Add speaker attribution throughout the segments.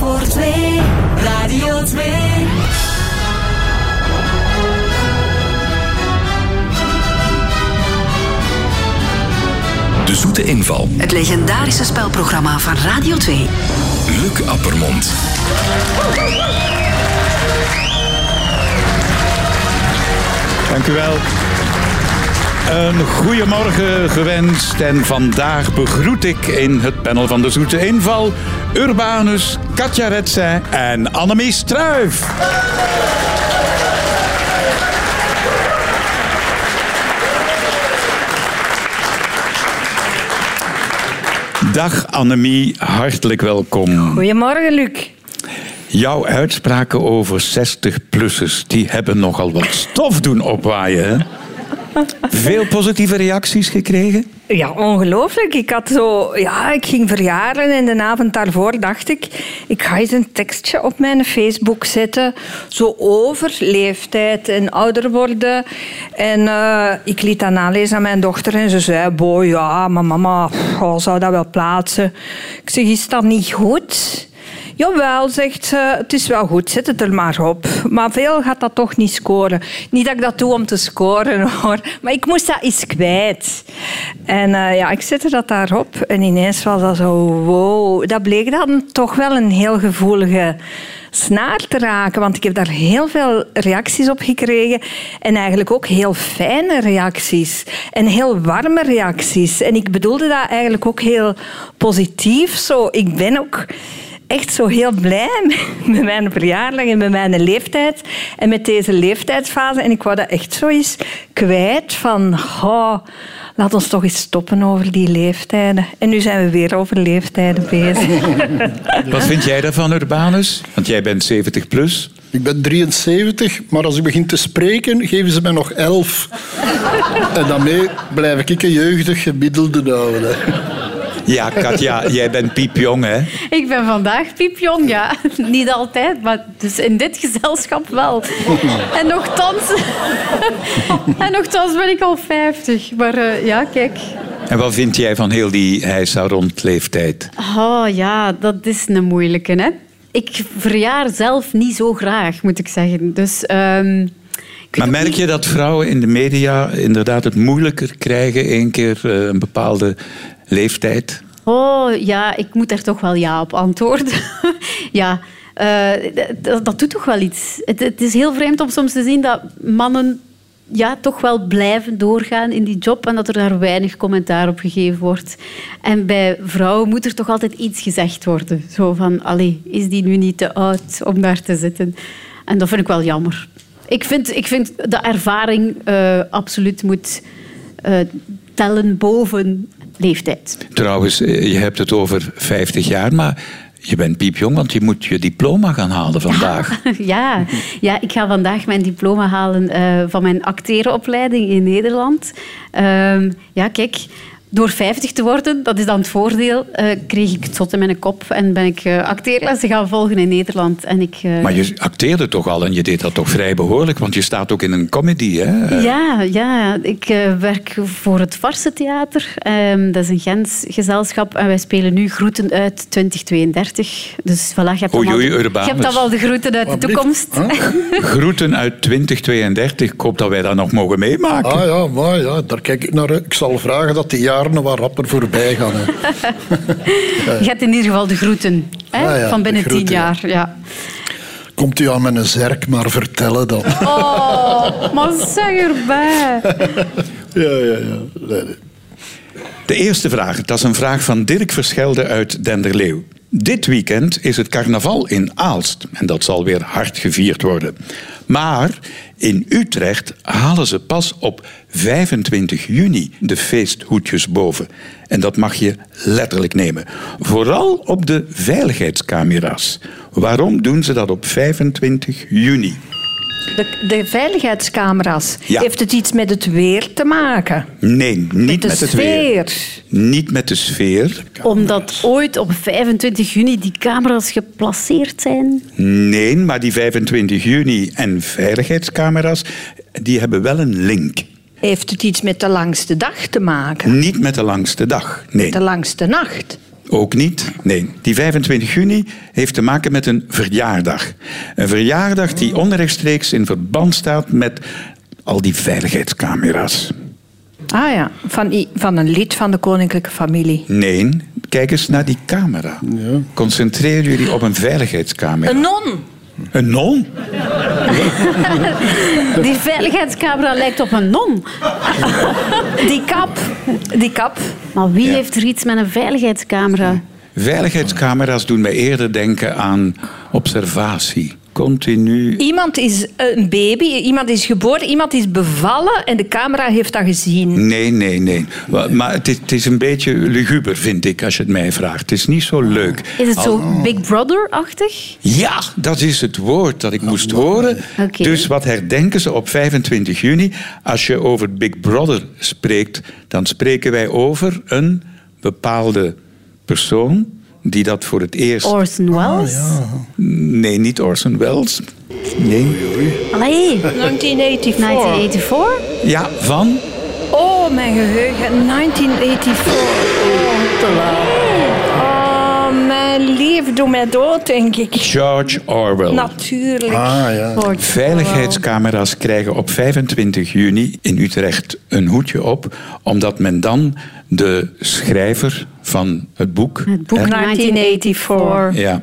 Speaker 1: voor twee. Radio 2.
Speaker 2: De zoete inval.
Speaker 3: Het legendarische spelprogramma van Radio 2.
Speaker 2: Luc Appermond.
Speaker 4: Dank u wel. Een goeiemorgen gewenst en vandaag begroet ik in het panel van de Zoete Inval Urbanus, Katja Retsen en Annemie Struif. Dag Annemie, hartelijk welkom.
Speaker 5: Goedemorgen, Luc.
Speaker 4: Jouw uitspraken over 60-plussers, die hebben nogal wat stof doen opwaaien. hè? Veel positieve reacties gekregen?
Speaker 5: Ja, ongelooflijk. Ik, had zo, ja, ik ging verjaren en de avond daarvoor dacht ik... ik ga eens een tekstje op mijn Facebook zetten... zo over leeftijd en ouder worden. En eh, ik liet dat nalezen aan mijn dochter en ze zei... Boy, ja, maar mama, pff, oh, zou dat wel plaatsen? Ik zeg, is dat niet goed? Jawel, zegt ze, het is wel goed, zet het er maar op. Maar veel gaat dat toch niet scoren. Niet dat ik dat doe om te scoren hoor, maar ik moest dat eens kwijt. En eh, ja, ik zette dat daarop en ineens was dat zo, wow. Dat bleek dan toch wel een heel gevoelige snaar te raken, want ik heb daar heel veel reacties op gekregen en eigenlijk ook heel fijne reacties en heel warme reacties. En ik bedoelde dat eigenlijk ook heel positief zo. Ik ben ook echt zo heel blij met- met mijn verjaardag en met mijn leeftijd en met deze leeftijdsfase. En ik wou dat echt zo eens kwijt van, oh, laat ons toch eens stoppen over die leeftijden. En nu zijn we weer over leeftijden bezig.
Speaker 4: Wat vind jij daarvan, Urbanus? Want jij bent 70 plus.
Speaker 6: Ik ben 73, maar als ik begin te spreken, geven ze mij nog 11. en daarmee blijf ik een jeugdig gemiddelde oude.
Speaker 4: Ja, Katja, jij bent piepjong, hè?
Speaker 7: Ik ben vandaag piepjong, ja. Niet altijd, maar dus in dit gezelschap wel. En nogthans... en nogthans ben ik al 50. Maar eh, ja, kijk.
Speaker 4: En wat vind jij van heel die heisa rond leeftijd?
Speaker 7: Oh ja, dat is een moeilijke, hè. Ik verjaar zelf niet zo graag, moet ik zeggen. Dus... ehm, ik weet
Speaker 4: Maar
Speaker 7: ook
Speaker 4: merk
Speaker 7: niet-
Speaker 4: je dat vrouwen in de media inderdaad het moeilijker krijgen, één keer eh, een bepaalde leeftijd?
Speaker 7: Oh ja, ik moet daar toch wel ja op antwoorden. ja, eh, d- d- dat doet toch wel iets. Het, het is heel vreemd om soms te zien dat mannen ja, toch wel blijven doorgaan in die job en dat er daar weinig commentaar op gegeven wordt. En bij vrouwen moet er toch altijd iets gezegd worden. Zo van, allee, is die nu niet te oud om daar te zitten? En dat vind ik wel jammer. Ik vind, ik vind de ervaring eh, absoluut moet eh, tellen boven leeftijd.
Speaker 4: Trouwens, eh, je hebt het over 50 jaar, maar je bent piepjong, want je moet je diploma gaan halen vandaag.
Speaker 7: Ja. ja, ik ga vandaag mijn diploma halen eh, van mijn acterenopleiding in Nederland. Ehm, ja, kijk, door 50 te worden, dat is dan het voordeel, eh, kreeg ik het zot in mijn kop en ben ik eh, acteerlessen gaan volgen in Nederland. En ik, eh,
Speaker 4: Maar je acteerde toch al en je deed dat toch vrij behoorlijk, want je staat ook in een comedy, hè?
Speaker 7: Ja, ja, ik eh, werk voor het Varse Theater. Ehm, dat is een Gens gezelschap en wij spelen nu Groeten uit 2032. Dus voilà, je hebt,
Speaker 4: Oei,
Speaker 7: dan al
Speaker 4: oei,
Speaker 7: de-
Speaker 4: Urbanus.
Speaker 7: je hebt dan wel de groeten uit de
Speaker 6: Wat blieft,
Speaker 7: toekomst.
Speaker 6: hè?
Speaker 4: Groeten uit 2032. Ik hoop dat wij dat nog mogen meemaken.
Speaker 6: Ah ja, maar ja, daar kijk ik naar. uit. Ik zal vragen dat die jaren wat rapper voorbij gaan. Hè.
Speaker 7: Je hebt in ieder geval de groeten hè?
Speaker 6: Eh. Ja, ja,
Speaker 7: van binnen
Speaker 6: de
Speaker 7: tien
Speaker 6: groeten, ja.
Speaker 7: jaar. Ja.
Speaker 6: Komt u aan met een zerk, maar vertellen dan.
Speaker 7: Oh, maar zeg erbij.
Speaker 6: Ja, ja, ja. Nee, nee.
Speaker 4: De eerste vraag, dat is een vraag van Dirk Verschelde uit Denderleeuw. Dit weekend is het carnaval in Aalst en dat zal weer hard gevierd worden. Maar in Utrecht halen ze pas op 25 juni de feesthoedjes boven. En dat mag je letterlijk nemen. Vooral op de veiligheidscamera's. Waarom doen ze dat op 25 juni?
Speaker 5: De, de veiligheidscamera's,
Speaker 4: Ja.
Speaker 5: heeft het iets met het weer te maken?
Speaker 4: Nee, niet met,
Speaker 5: de
Speaker 4: het
Speaker 5: sfeer.
Speaker 4: weer. Niet met de sfeer.
Speaker 7: Omdat ooit op 25 juni die camera's geplaceerd zijn.
Speaker 4: Nee, maar die 25 juni en veiligheidscamera's, die hebben wel een link.
Speaker 5: Heeft het iets met de langste dag te maken?
Speaker 4: Niet met de langste dag. Nee,
Speaker 5: De langste nacht?
Speaker 4: Ook niet? Nee. Die 25 juni heeft te maken met een verjaardag. Een verjaardag die onrechtstreeks in verband staat met al die veiligheidscamera's.
Speaker 5: Ah ja, van, i- van een lid van de koninklijke familie.
Speaker 4: Nee, kijk eens naar die camera. Concentreer jullie op een veiligheidscamera.
Speaker 8: Een non.
Speaker 4: Een non?
Speaker 7: Die veiligheidscamera lijkt op een non.
Speaker 5: Die kap, die kap.
Speaker 7: Maar wie heeft er iets met een veiligheidscamera?
Speaker 4: Veiligheidscamera's doen mij eerder denken aan observatie. Continu.
Speaker 5: Iemand is een baby, iemand is geboren, iemand is bevallen en de camera heeft dat gezien.
Speaker 4: Nee, nee, nee. Wa- Maar het is, het is een beetje luguber, vind ik, als je het mij vraagt. Het is niet zo leuk.
Speaker 7: Is het
Speaker 6: Oh.
Speaker 7: zo Big Brother-achtig?
Speaker 4: Ja, dat is het woord dat ik moest horen.
Speaker 7: Oké.
Speaker 4: Dus wat herdenken ze op 25 juni? Als je over Big Brother spreekt, dan spreken wij over een bepaalde persoon die dat voor het eerst.
Speaker 6: Ah,
Speaker 7: Orson Welles?
Speaker 4: Nee, niet Orson Welles. Nee.
Speaker 7: Allee,
Speaker 5: Oh. 1984.
Speaker 7: 1984?
Speaker 4: Ja, van.
Speaker 5: Oh, mijn geheugen. 1984. Oh, te laat. Oh, mijn lief, doe mij dood, denk ik.
Speaker 4: George Orwell.
Speaker 5: Nou, Natuurlijk.
Speaker 6: Ah ja.
Speaker 4: Veiligheidscamera's krijgen op 25 juni in Utrecht een hoedje op, omdat men dan de schrijver van het boek,
Speaker 7: Het boek
Speaker 4: hè,
Speaker 5: 1984.
Speaker 4: ja,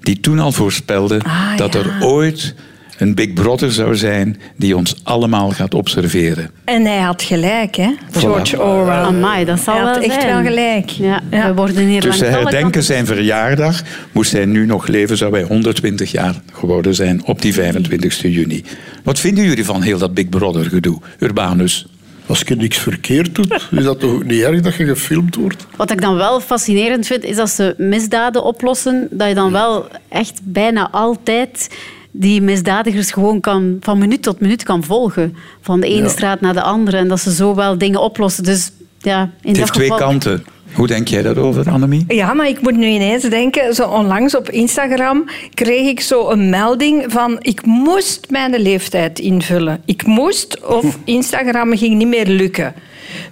Speaker 4: die toen al voorspelde
Speaker 5: Ah,
Speaker 4: dat
Speaker 5: ja.
Speaker 4: er ooit een Big Brother zou zijn die ons allemaal gaat observeren.
Speaker 5: En hij had gelijk, hè? George Orwell.
Speaker 7: Amai, dat zal
Speaker 5: hij had
Speaker 7: wel
Speaker 5: echt
Speaker 7: zijn.
Speaker 5: wel gelijk.
Speaker 7: Ja, we worden hier
Speaker 4: Dus ze
Speaker 7: langs alle
Speaker 4: herdenken
Speaker 7: kanten-
Speaker 4: zijn verjaardag. Moest hij nu nog leven, zou hij 120 jaar geworden zijn op die 25 juni. Wat vinden jullie van heel dat Big Brother gedoe, Urbanus?
Speaker 6: Als je niks verkeerd doet, is dat toch ook niet erg dat je gefilmd wordt?
Speaker 7: Wat ik dan wel fascinerend vind, is dat ze misdaden oplossen, dat je dan wel echt bijna altijd die misdadigers gewoon kan, van minuut tot minuut kan volgen. Van de ene straat naar de andere. En dat ze zo wel dingen oplossen. Dus ja, in
Speaker 4: Het
Speaker 7: dat
Speaker 4: heeft twee
Speaker 7: geval-
Speaker 4: kanten. Hoe denk jij daarover, Annemie?
Speaker 5: Ja, maar ik moet nu ineens denken, zo onlangs op Instagram kreeg ik zo een melding van ik moest mijn leeftijd invullen. Ik moest of Instagram ging niet meer lukken.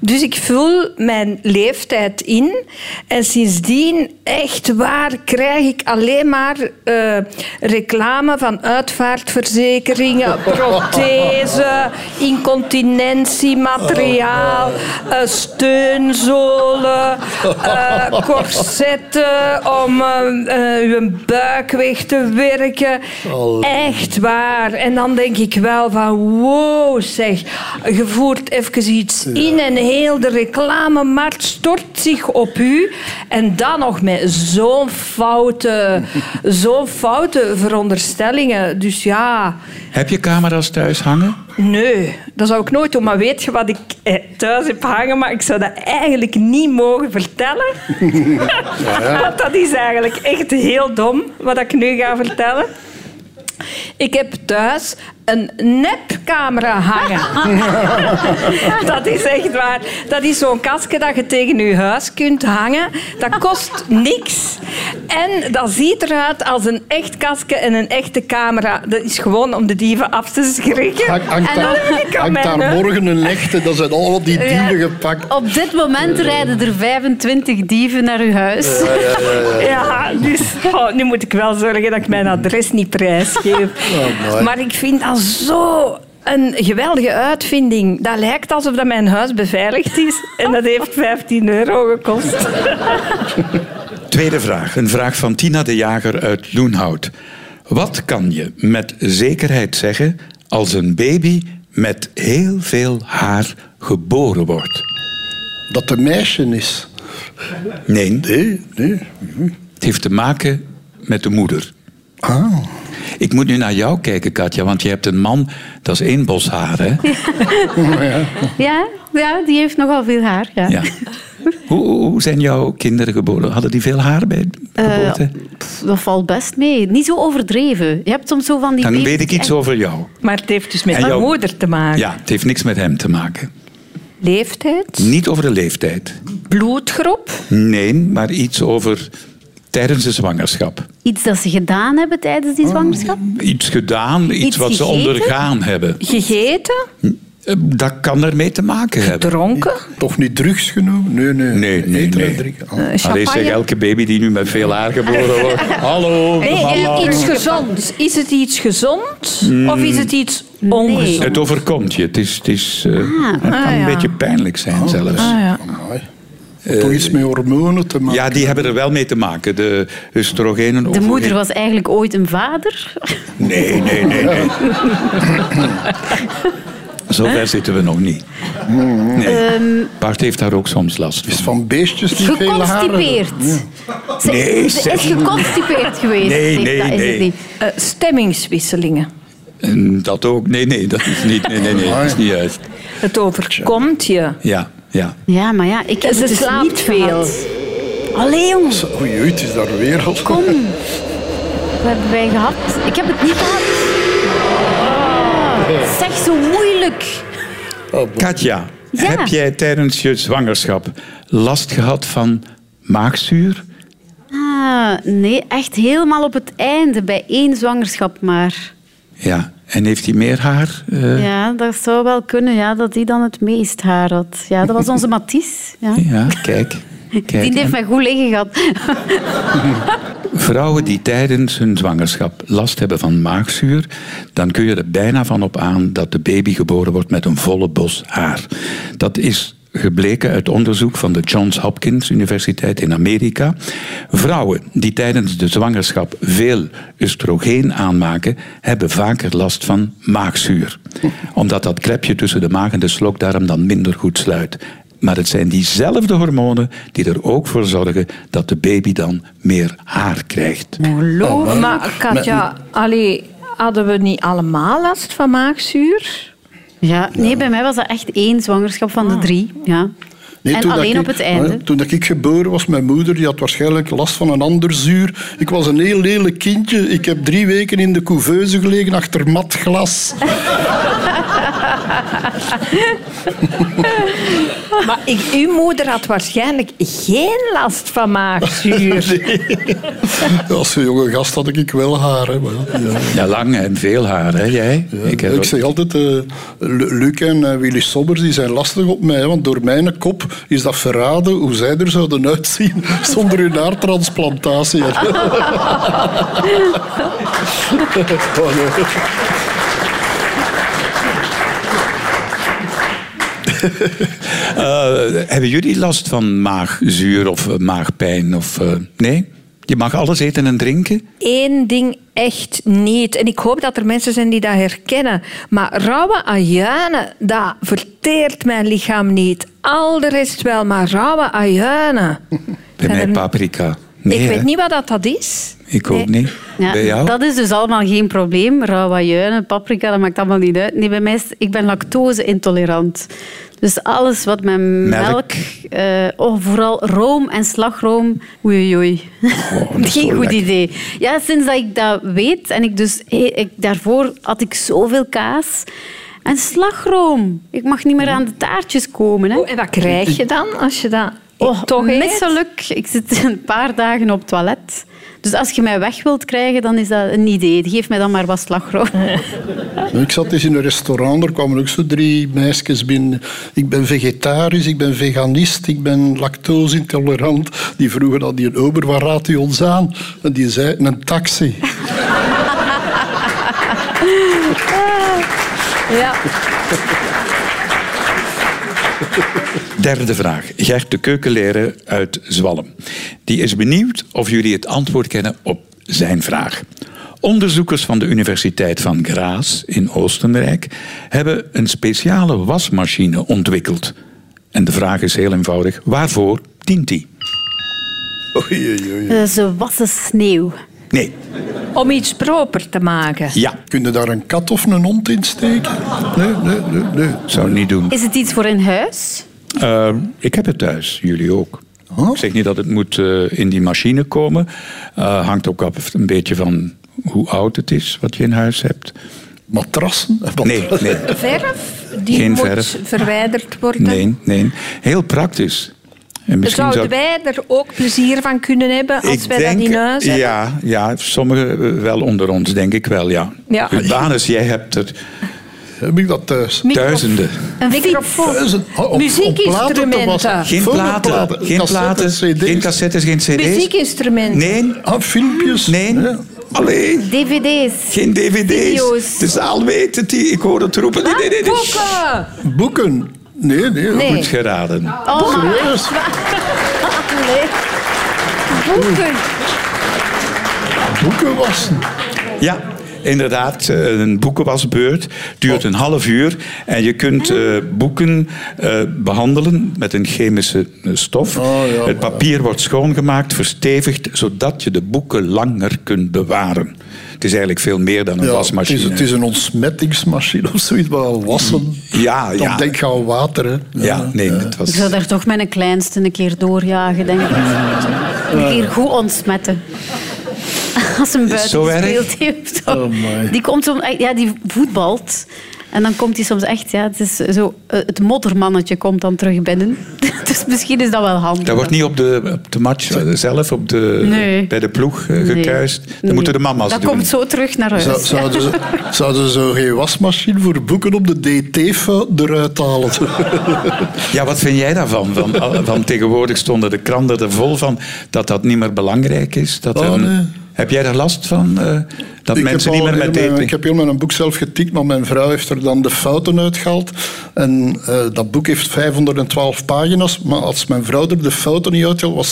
Speaker 5: Dus ik vul mijn leeftijd in en sindsdien, echt waar, krijg ik alleen maar eh, reclame van uitvaartverzekeringen, prothese, incontinentiemateriaal, eh, steunzolen, eh, corsetten om eh, eh, uw buik weg te werken. Echt waar. En dan denk ik wel van wow zeg, je voert even iets in en heel de reclamemarkt stort zich op u. En dan nog met zo'n foute, zo'n foute veronderstellingen. Dus ja,
Speaker 4: Heb je camera's thuis hangen?
Speaker 5: Nee, dat zou ik nooit doen. Maar weet je wat ik eh, thuis heb hangen? Maar ik zou dat eigenlijk niet mogen vertellen. Want dat is eigenlijk echt heel dom, wat ik nu ga vertellen. Ik heb thuis een nepcamera hangen. dat is echt waar. Dat is zo'n kastje dat je tegen je huis kunt hangen. Dat kost niks. En dat ziet eruit als een echt kastje en een echte camera. Dat is gewoon om de dieven af te schrikken.
Speaker 6: Hang- Hangt
Speaker 5: en dan heb
Speaker 6: daar,
Speaker 5: ik aan
Speaker 6: hangt
Speaker 5: mijn
Speaker 6: daar
Speaker 5: neus.
Speaker 6: morgen een echte, dan zijn al die dieren gepakt.
Speaker 7: Op dit moment rijden er 25 dieven naar uw huis.
Speaker 4: Eh,
Speaker 5: Ja, dus oh, nu moet ik wel zorgen dat ik mijn adres niet prijsgeef.
Speaker 4: Oh,
Speaker 6: mooi.
Speaker 5: maar ik vind dat zo een geweldige uitvinding. Dat lijkt alsof dat mijn huis beveiligd is. En dat heeft 15 euro gekost.
Speaker 4: Tweede vraag. Een vraag van Tina de Jager uit Loenhout. Wat kan je met zekerheid zeggen als een baby met heel veel haar geboren wordt?
Speaker 6: Dat de meisje is.
Speaker 4: Nee,
Speaker 6: Nee, nee.
Speaker 4: het heeft te maken met de moeder.
Speaker 6: Ah.
Speaker 4: Ik moet nu naar jou kijken, Katja, want je hebt een man, dat is één bos haar, hè?
Speaker 7: Ja, ja, die heeft nogal veel haar. Ja. Eh,
Speaker 4: Ja. Hoe, hoe- hoe zijn jouw kinderen geboren? Hadden die veel haar bij
Speaker 7: Eh,
Speaker 4: geboorte?
Speaker 7: Pff, dat valt best mee. Niet zo overdreven. Je hebt soms zo van die
Speaker 4: Dan
Speaker 7: baby's
Speaker 4: weet ik
Speaker 7: die
Speaker 4: iets
Speaker 7: echt-
Speaker 4: over jou.
Speaker 5: Maar het heeft dus met
Speaker 4: En
Speaker 5: mijn
Speaker 4: jouw-
Speaker 5: moeder te maken.
Speaker 4: Ja, het heeft niks met hem te maken.
Speaker 5: Leeftijd,
Speaker 4: Niet over de leeftijd.
Speaker 5: bloedgroep.
Speaker 4: Nee, maar iets over tijdens de zwangerschap.
Speaker 7: Iets dat ze gedaan hebben
Speaker 4: Oh,
Speaker 7: tijdens die zwangerschap.
Speaker 4: Iets gedaan, iets,
Speaker 7: Iets
Speaker 4: wat ze
Speaker 7: gegeten?
Speaker 4: ondergaan hebben.
Speaker 5: Gegeten?
Speaker 4: Eh, Dat kan ermee te maken hebben.
Speaker 5: Dronken?
Speaker 6: Toch niet drugs genomen? Nee, nee.
Speaker 4: Nee, nee,
Speaker 6: Eten en
Speaker 4: nee.
Speaker 6: drinken. Ah.
Speaker 5: Eh,
Speaker 4: Allee, zeg,
Speaker 5: champagne? Ah.
Speaker 4: elke baby die nu met veel haar geboren wordt. Hallo,
Speaker 5: Nee,
Speaker 4: mama.
Speaker 5: eh, iets gezonds. Is het iets gezond of is het iets ongezond?
Speaker 4: Mm. Het overkomt je. Het, is, het, is, eh, het kan
Speaker 5: Ah,
Speaker 4: een
Speaker 5: ja. Oh. Ah.
Speaker 4: beetje pijnlijk zijn zelfs.
Speaker 6: Amai. Toch iets met hormonen te maken.
Speaker 4: Eh, Ja, die hebben er wel mee te maken. De oestrogenen.
Speaker 7: De
Speaker 4: overigens.
Speaker 7: moeder was eigenlijk ooit een vader.
Speaker 4: Nee, nee, nee, nee. Zover zitten we nog niet.
Speaker 7: Ehm,
Speaker 4: Nee. Bart heeft daar ook soms last
Speaker 6: Is
Speaker 4: van.
Speaker 6: van beestjes die veel haren hebben.
Speaker 7: Geconstipeerd. Ze,
Speaker 4: Nee,
Speaker 7: ze
Speaker 4: zeg.
Speaker 7: is geconstipeerd geweest.
Speaker 4: Nee, nee,
Speaker 7: dat is
Speaker 4: nee.
Speaker 7: het niet.
Speaker 5: Eh, stemmingswisselingen.
Speaker 4: En Dat ook. Nee, nee, dat is niet. Nee, nee, nee, dat is niet juist.
Speaker 5: Het overkomt je.
Speaker 4: Ja, ja.
Speaker 7: Ja, maar ja, ik heb
Speaker 5: Ze
Speaker 7: het dus
Speaker 5: slaapt
Speaker 7: niet
Speaker 5: veel.
Speaker 7: veel. Allee, jongens.
Speaker 6: Oei, oei, het is daar weer al.
Speaker 7: Kom. Wat hebben wij gehad? Ik heb het niet gehad. Oh, het is echt zo moeilijk.
Speaker 4: Katja,
Speaker 7: Ja.
Speaker 4: heb jij tijdens je zwangerschap last gehad van maagzuur?
Speaker 7: Ah, nee, echt helemaal op het einde, bij één zwangerschap maar.
Speaker 4: Ja. En heeft hij meer haar? Eh,
Speaker 7: Ja, dat zou wel kunnen, ja, dat die dan het meest haar had. Ja, dat was onze Mathies. Ja.
Speaker 4: ja, kijk. kijk.
Speaker 7: Die heeft mij goed liggen gehad.
Speaker 4: Vrouwen die tijdens hun zwangerschap last hebben van maagzuur, dan kun je er bijna van op aan dat de baby geboren wordt met een volle bos haar. Dat is gebleken uit onderzoek van de Johns Hopkins Universiteit in Amerika. Vrouwen die tijdens de zwangerschap veel oestrogeen aanmaken, hebben vaker last van maagzuur. Omdat dat klepje tussen de maag en de slokdarm dan minder goed sluit. Maar het zijn diezelfde hormonen die er ook voor zorgen dat de baby dan meer haar krijgt.
Speaker 5: Geloof maar, Katja, allee, hadden we niet allemaal last van maagzuur?
Speaker 7: Ja, nee, bij mij was dat echt één zwangerschap van de drie. Ja.
Speaker 6: Nee,
Speaker 7: en
Speaker 6: toen dat
Speaker 7: alleen
Speaker 6: ik-
Speaker 7: op het einde.
Speaker 6: hè, toen dat ik geboren was, mijn moeder die had waarschijnlijk last van een ander zuur. Ik was een heel lelijk kindje. Ik heb drie weken in de couveuse gelegen achter mat glas.
Speaker 5: Maar ik, uw moeder had waarschijnlijk geen last van maagzuur.
Speaker 6: Als een jonge gast had ik wel haar. Hè, maar ja, ja.
Speaker 4: Ja, lang en veel haar, hè, jij?
Speaker 6: Ik,
Speaker 4: heb ook-
Speaker 6: zeg altijd, eh, Lu- Luc en eh, Willy Sobbers die zijn lastig op mij, hè, want door mijn kop is dat verraden hoe zij er zouden uitzien zonder hun haartransplantatie. Oh, nee.
Speaker 4: Eh, hebben jullie last van maagzuur of eh, maagpijn? Of, eh, nee? Je mag alles eten en drinken?
Speaker 5: Eén ding echt niet. En ik hoop dat er mensen zijn die dat herkennen. Maar rauwe ajuinen, dat verteert mijn lichaam niet. Al de rest wel, maar rauwe ajuinen.
Speaker 4: Bij
Speaker 5: Zijn
Speaker 4: mij
Speaker 5: er-
Speaker 4: paprika.
Speaker 5: Ik
Speaker 4: Nee, hè?
Speaker 5: weet niet wat dat, dat is.
Speaker 4: Ik ook niet.
Speaker 7: Ja,
Speaker 4: Bij jou?
Speaker 7: Dat is dus allemaal geen probleem. Rauwe juinen, paprika, dat maakt allemaal niet uit. Nee, bij mij is ik ben lactose-intolerant. Dus alles wat met melk,
Speaker 4: Melk.
Speaker 7: eh, oh, vooral room en slagroom, oei oei, oei.
Speaker 4: dat is
Speaker 7: geen
Speaker 4: zo
Speaker 7: goed
Speaker 4: lekker.
Speaker 7: idee. Ja, sinds dat ik dat weet en ik dus, eh, ik, daarvoor had ik zoveel kaas en slagroom. Ik mag niet meer aan de taartjes komen. Hè.
Speaker 5: Oh, en wat krijg je dan als je dat Oh, toch eet?
Speaker 7: Oh, misselijk. Ik zit een paar dagen op het toilet. Dus als je mij weg wilt krijgen, dan is dat een idee. Geef mij dan maar wat slagroom.
Speaker 6: Ik zat eens in een restaurant, er kwamen ook zo drie meisjes binnen. Ik ben vegetarisch, ik ben veganist, ik ben lactose-intolerant. Die vroegen aan die ober, waar raadt u ons aan? En die zei, een taxi.
Speaker 5: Ja.
Speaker 4: Derde vraag. Gert de keukenleraar uit Zwalm. Die is benieuwd of jullie het antwoord kennen op zijn vraag. Onderzoekers van de Universiteit van Graz in Oostenrijk hebben een speciale wasmachine ontwikkeld. En de vraag is heel eenvoudig: waarvoor dient die?
Speaker 6: Oei, oei, oei.
Speaker 7: Eh, Ze wassen sneeuw.
Speaker 4: Nee,
Speaker 5: Om iets proper te maken.
Speaker 4: ja,
Speaker 6: Kun je daar een kat of een hond in steken? Nee, nee, nee. nee.
Speaker 4: zou ik niet doen.
Speaker 7: Is het iets voor in huis?
Speaker 4: Eh, ik heb het thuis, jullie ook.
Speaker 6: Oh.
Speaker 4: Ik zeg niet dat het moet eh, in die machine komen. Eh, hangt ook af een beetje van hoe oud het is wat je in huis hebt.
Speaker 6: Matrassen?
Speaker 4: Nee, nee.
Speaker 5: Verf, die
Speaker 4: Geen
Speaker 5: moet
Speaker 4: verf.
Speaker 5: verwijderd worden.
Speaker 4: Nee, nee. Heel praktisch. En misschien
Speaker 5: Zouden
Speaker 4: zou...
Speaker 5: wij er ook plezier van kunnen hebben als
Speaker 4: ik
Speaker 5: wij
Speaker 4: denk,
Speaker 5: dat in huis hebben?
Speaker 4: ja, ja, sommigen eh, wel onder ons, denk ik wel, ja.
Speaker 5: Ja.
Speaker 4: Urbanus, jij hebt er
Speaker 6: heb ik dat thuis.
Speaker 4: Duizenden.
Speaker 7: Een fiets.
Speaker 5: Microfoon.
Speaker 6: Duizend- oh, op- op
Speaker 5: Muziekinstrumenten.
Speaker 6: platen was-
Speaker 4: Geen platen, geen platen,
Speaker 6: cassettes,
Speaker 4: geen
Speaker 6: CD's.
Speaker 4: cassettes, geen cd's.
Speaker 5: Muziekinstrumenten.
Speaker 4: Nee,
Speaker 6: Ah, filmpjes.
Speaker 4: nee.
Speaker 6: Ja.
Speaker 4: Allee,
Speaker 7: DVD's.
Speaker 4: geen dvd's.
Speaker 7: Video's.
Speaker 4: De zaal weet het, die- ik hoor het roepen. Nee, nee, nee. nee.
Speaker 5: Boeken.
Speaker 6: Boeken. Nee, nee.
Speaker 5: Nee.
Speaker 4: Goed geraden.
Speaker 7: Oh,
Speaker 6: Serieus.
Speaker 7: Oh, boeken.
Speaker 6: Boeken was
Speaker 4: Ja, inderdaad. eh, Een boekenwasbeurt
Speaker 6: Oh.
Speaker 4: duurt een half uur. En je kunt
Speaker 6: Ah.
Speaker 4: eh, boeken eh, behandelen met een chemische eh, stof.
Speaker 6: Oh, ja,
Speaker 4: het papier wordt schoongemaakt, verstevigd, zodat je de boeken langer kunt bewaren. Het is eigenlijk veel meer dan een
Speaker 6: Ja, het,
Speaker 4: wasmachine.
Speaker 6: is, het is een ontsmettingsmachine of zoiets, maar wassen.
Speaker 4: Ah, Ja,
Speaker 6: Dan
Speaker 4: ja.
Speaker 6: denk je aan water. Hè.
Speaker 4: Ja, nee, het
Speaker 7: Ik
Speaker 4: was...
Speaker 7: zou daar toch mijn kleinste een keer doorjagen, denk ik. Een keer goed ontsmetten. Als een buiten
Speaker 4: Zo erg?
Speaker 7: gespeeld heeft.
Speaker 6: Oh my.
Speaker 7: die, komt om, ja, die voetbalt. En dan komt hij soms echt... Ja, het, is zo, eh, het moddermannetje komt dan terug binnen. Dus misschien is dat wel handig.
Speaker 4: Dat wordt niet op de, op de match eh, zelf, op de,
Speaker 7: Nee.
Speaker 4: bij de ploeg eh,
Speaker 7: Nee.
Speaker 4: gekuist. Dat
Speaker 7: Nee.
Speaker 4: moeten de mama's
Speaker 7: Dat
Speaker 4: doen.
Speaker 7: komt zo terug naar huis.
Speaker 6: Zou- zouden, ze, zouden ze zo geen wasmachine voor boeken op de DT eruit halen?
Speaker 4: Ja, wat vind jij daarvan? Van, van tegenwoordig stonden de kranten er vol van dat dat niet meer belangrijk is. Dat
Speaker 6: Oh,
Speaker 4: een-
Speaker 6: nee.
Speaker 4: Heb jij daar last van? eh, dat
Speaker 6: Ik
Speaker 4: mensen
Speaker 6: heb
Speaker 4: niet
Speaker 6: al
Speaker 4: meer met
Speaker 6: heel mijn-
Speaker 4: eten...
Speaker 6: Ik heb heel mijn boek zelf getikt, maar mijn vrouw heeft er dan de fouten uitgehaald. En eh, dat boek heeft 512 pagina's, maar als mijn vrouw er de fouten niet uithaalt, was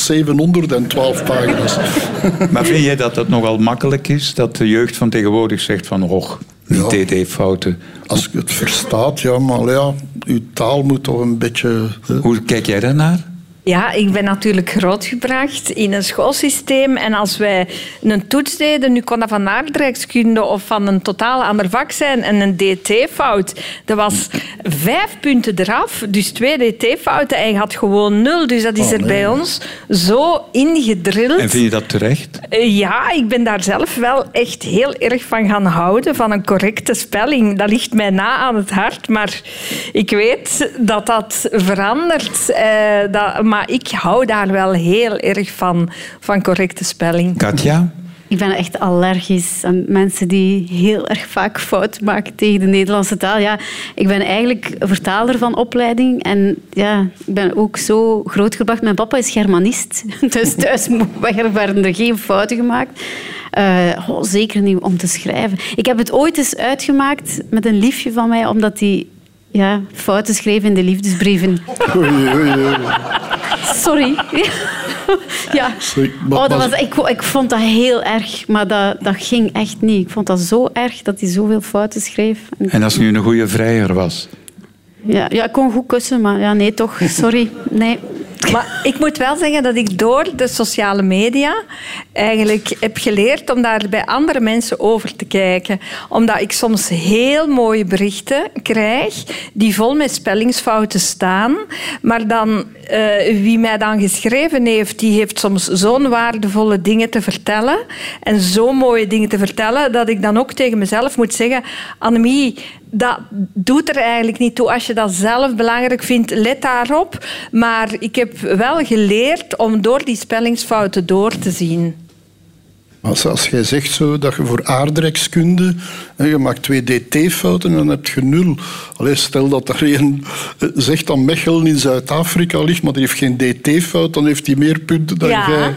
Speaker 6: 712 pagina's.
Speaker 4: Maar vind jij dat dat nogal makkelijk is? Dat de jeugd van tegenwoordig zegt van... Och, die
Speaker 6: Ja.
Speaker 4: TT-fouten.
Speaker 6: Als ik het verstaat, ja, maar ja, uw taal moet toch een beetje... hè.
Speaker 4: Hoe kijk jij daarnaar?
Speaker 5: Ja, ik ben natuurlijk grootgebracht in een schoolsysteem. En als wij een toets deden, nu kon dat van aardrijkskunde of van een totaal ander vak zijn. En een DT-fout, dat was vijf punten eraf. Dus twee DT-fouten en je had gewoon nul. Dus dat is
Speaker 6: Oh,
Speaker 5: er
Speaker 6: nee.
Speaker 5: bij ons zo ingedrild.
Speaker 4: En vind je dat terecht?
Speaker 5: Eh, Ja, ik ben daar zelf wel echt heel erg van gaan houden, van een correcte spelling. Dat ligt mij na aan het hart, maar ik weet dat dat verandert. Eh, dat, maar ik hou daar wel heel erg van, van correcte spelling.
Speaker 4: Katja?
Speaker 7: Ik ben echt allergisch aan mensen die heel erg vaak fout maken tegen de Nederlandse taal. Ja, ik ben eigenlijk vertaler van opleiding en ja, ik ben ook zo grootgebracht. Mijn papa is Germanist, dus thuis mo- werden er geen fouten gemaakt. Eh, oh, zeker niet om te schrijven. Ik heb het ooit eens uitgemaakt met een liefje van mij, omdat hij ja, fouten schreef in de liefdesbrieven.
Speaker 6: Oei, oei, oei.
Speaker 7: Sorry. ja.
Speaker 6: Sorry, maar-
Speaker 7: oh, dat
Speaker 6: maar-
Speaker 7: was, ik, ik vond dat heel erg, maar dat, dat ging echt niet. Ik vond dat zo erg dat hij zoveel fouten schreef. En-
Speaker 4: En als nu een goede vrijer was?
Speaker 7: Ja, ja, ik kon goed kussen, maar ja, nee toch. Sorry. Nee.
Speaker 5: Maar ik moet wel zeggen dat ik door de sociale media eigenlijk heb geleerd om daar bij andere mensen over te kijken. Omdat ik soms heel mooie berichten krijg die vol met spellingsfouten staan. Maar dan, eh, wie mij dan geschreven heeft, die heeft soms zo'n waardevolle dingen te vertellen. En zo mooie dingen te vertellen, dat ik dan ook tegen mezelf moet zeggen... Annemie, dat doet er eigenlijk niet toe. Als je dat zelf belangrijk vindt, let daarop. Maar ik heb wel geleerd om door die spellingsfouten door te zien.
Speaker 6: Als, als jij zegt zo, dat je voor aardrijkskunde, hè, je maakt twee DT-fouten en dan heb je nul. Allee, stel dat er een eh, zegt dat Mechelen in Zuid-Afrika ligt, maar die heeft geen DT-fout, dan heeft hij meer punten dan
Speaker 5: Ja.
Speaker 6: jij.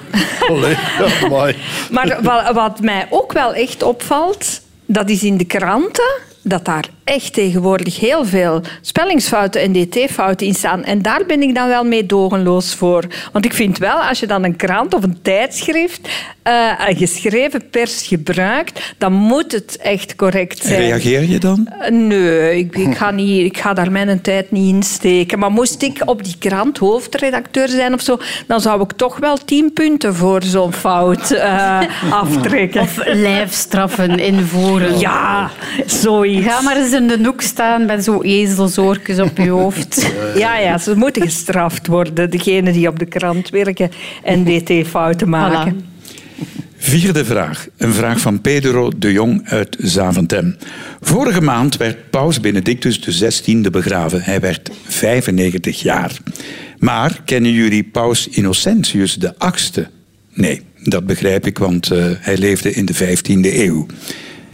Speaker 6: Allee, amai.
Speaker 5: Maar wa- wat mij ook wel echt opvalt, dat is in de kranten dat daar echt tegenwoordig heel veel spellingsfouten en dt-fouten in staan. En daar ben ik dan wel meedogenloos voor. Want ik vind wel, als je dan een krant of een tijdschrift, eh, geschreven pers gebruikt, dan moet het echt correct
Speaker 4: En
Speaker 5: zijn.
Speaker 4: reageer je dan?
Speaker 5: Eh, Nee, ik, ik, ga niet, ik ga daar mijn tijd niet in steken. Maar moest ik op die krant hoofdredacteur zijn of zo, dan zou ik toch wel tien punten voor zo'n fout eh, aftrekken.
Speaker 7: Of lijfstraffen invoeren.
Speaker 5: ja, zoiets.
Speaker 7: Ga maar eens in de noek staan met zo'n ezelsoortjes op je hoofd.
Speaker 5: Ja, ja, ze moeten gestraft worden, degenen die op de krant werken en dt-fouten maken.
Speaker 7: Voilà.
Speaker 4: Vierde vraag. Een vraag van Pedro de Jong uit Zaventem. Vorige maand werd Paus Benedictus XVI begraven. Hij werd 95 jaar. Maar kennen jullie Paus Innocentius VIII? Nee, dat begrijp ik, want eh, hij leefde in de 15e eeuw.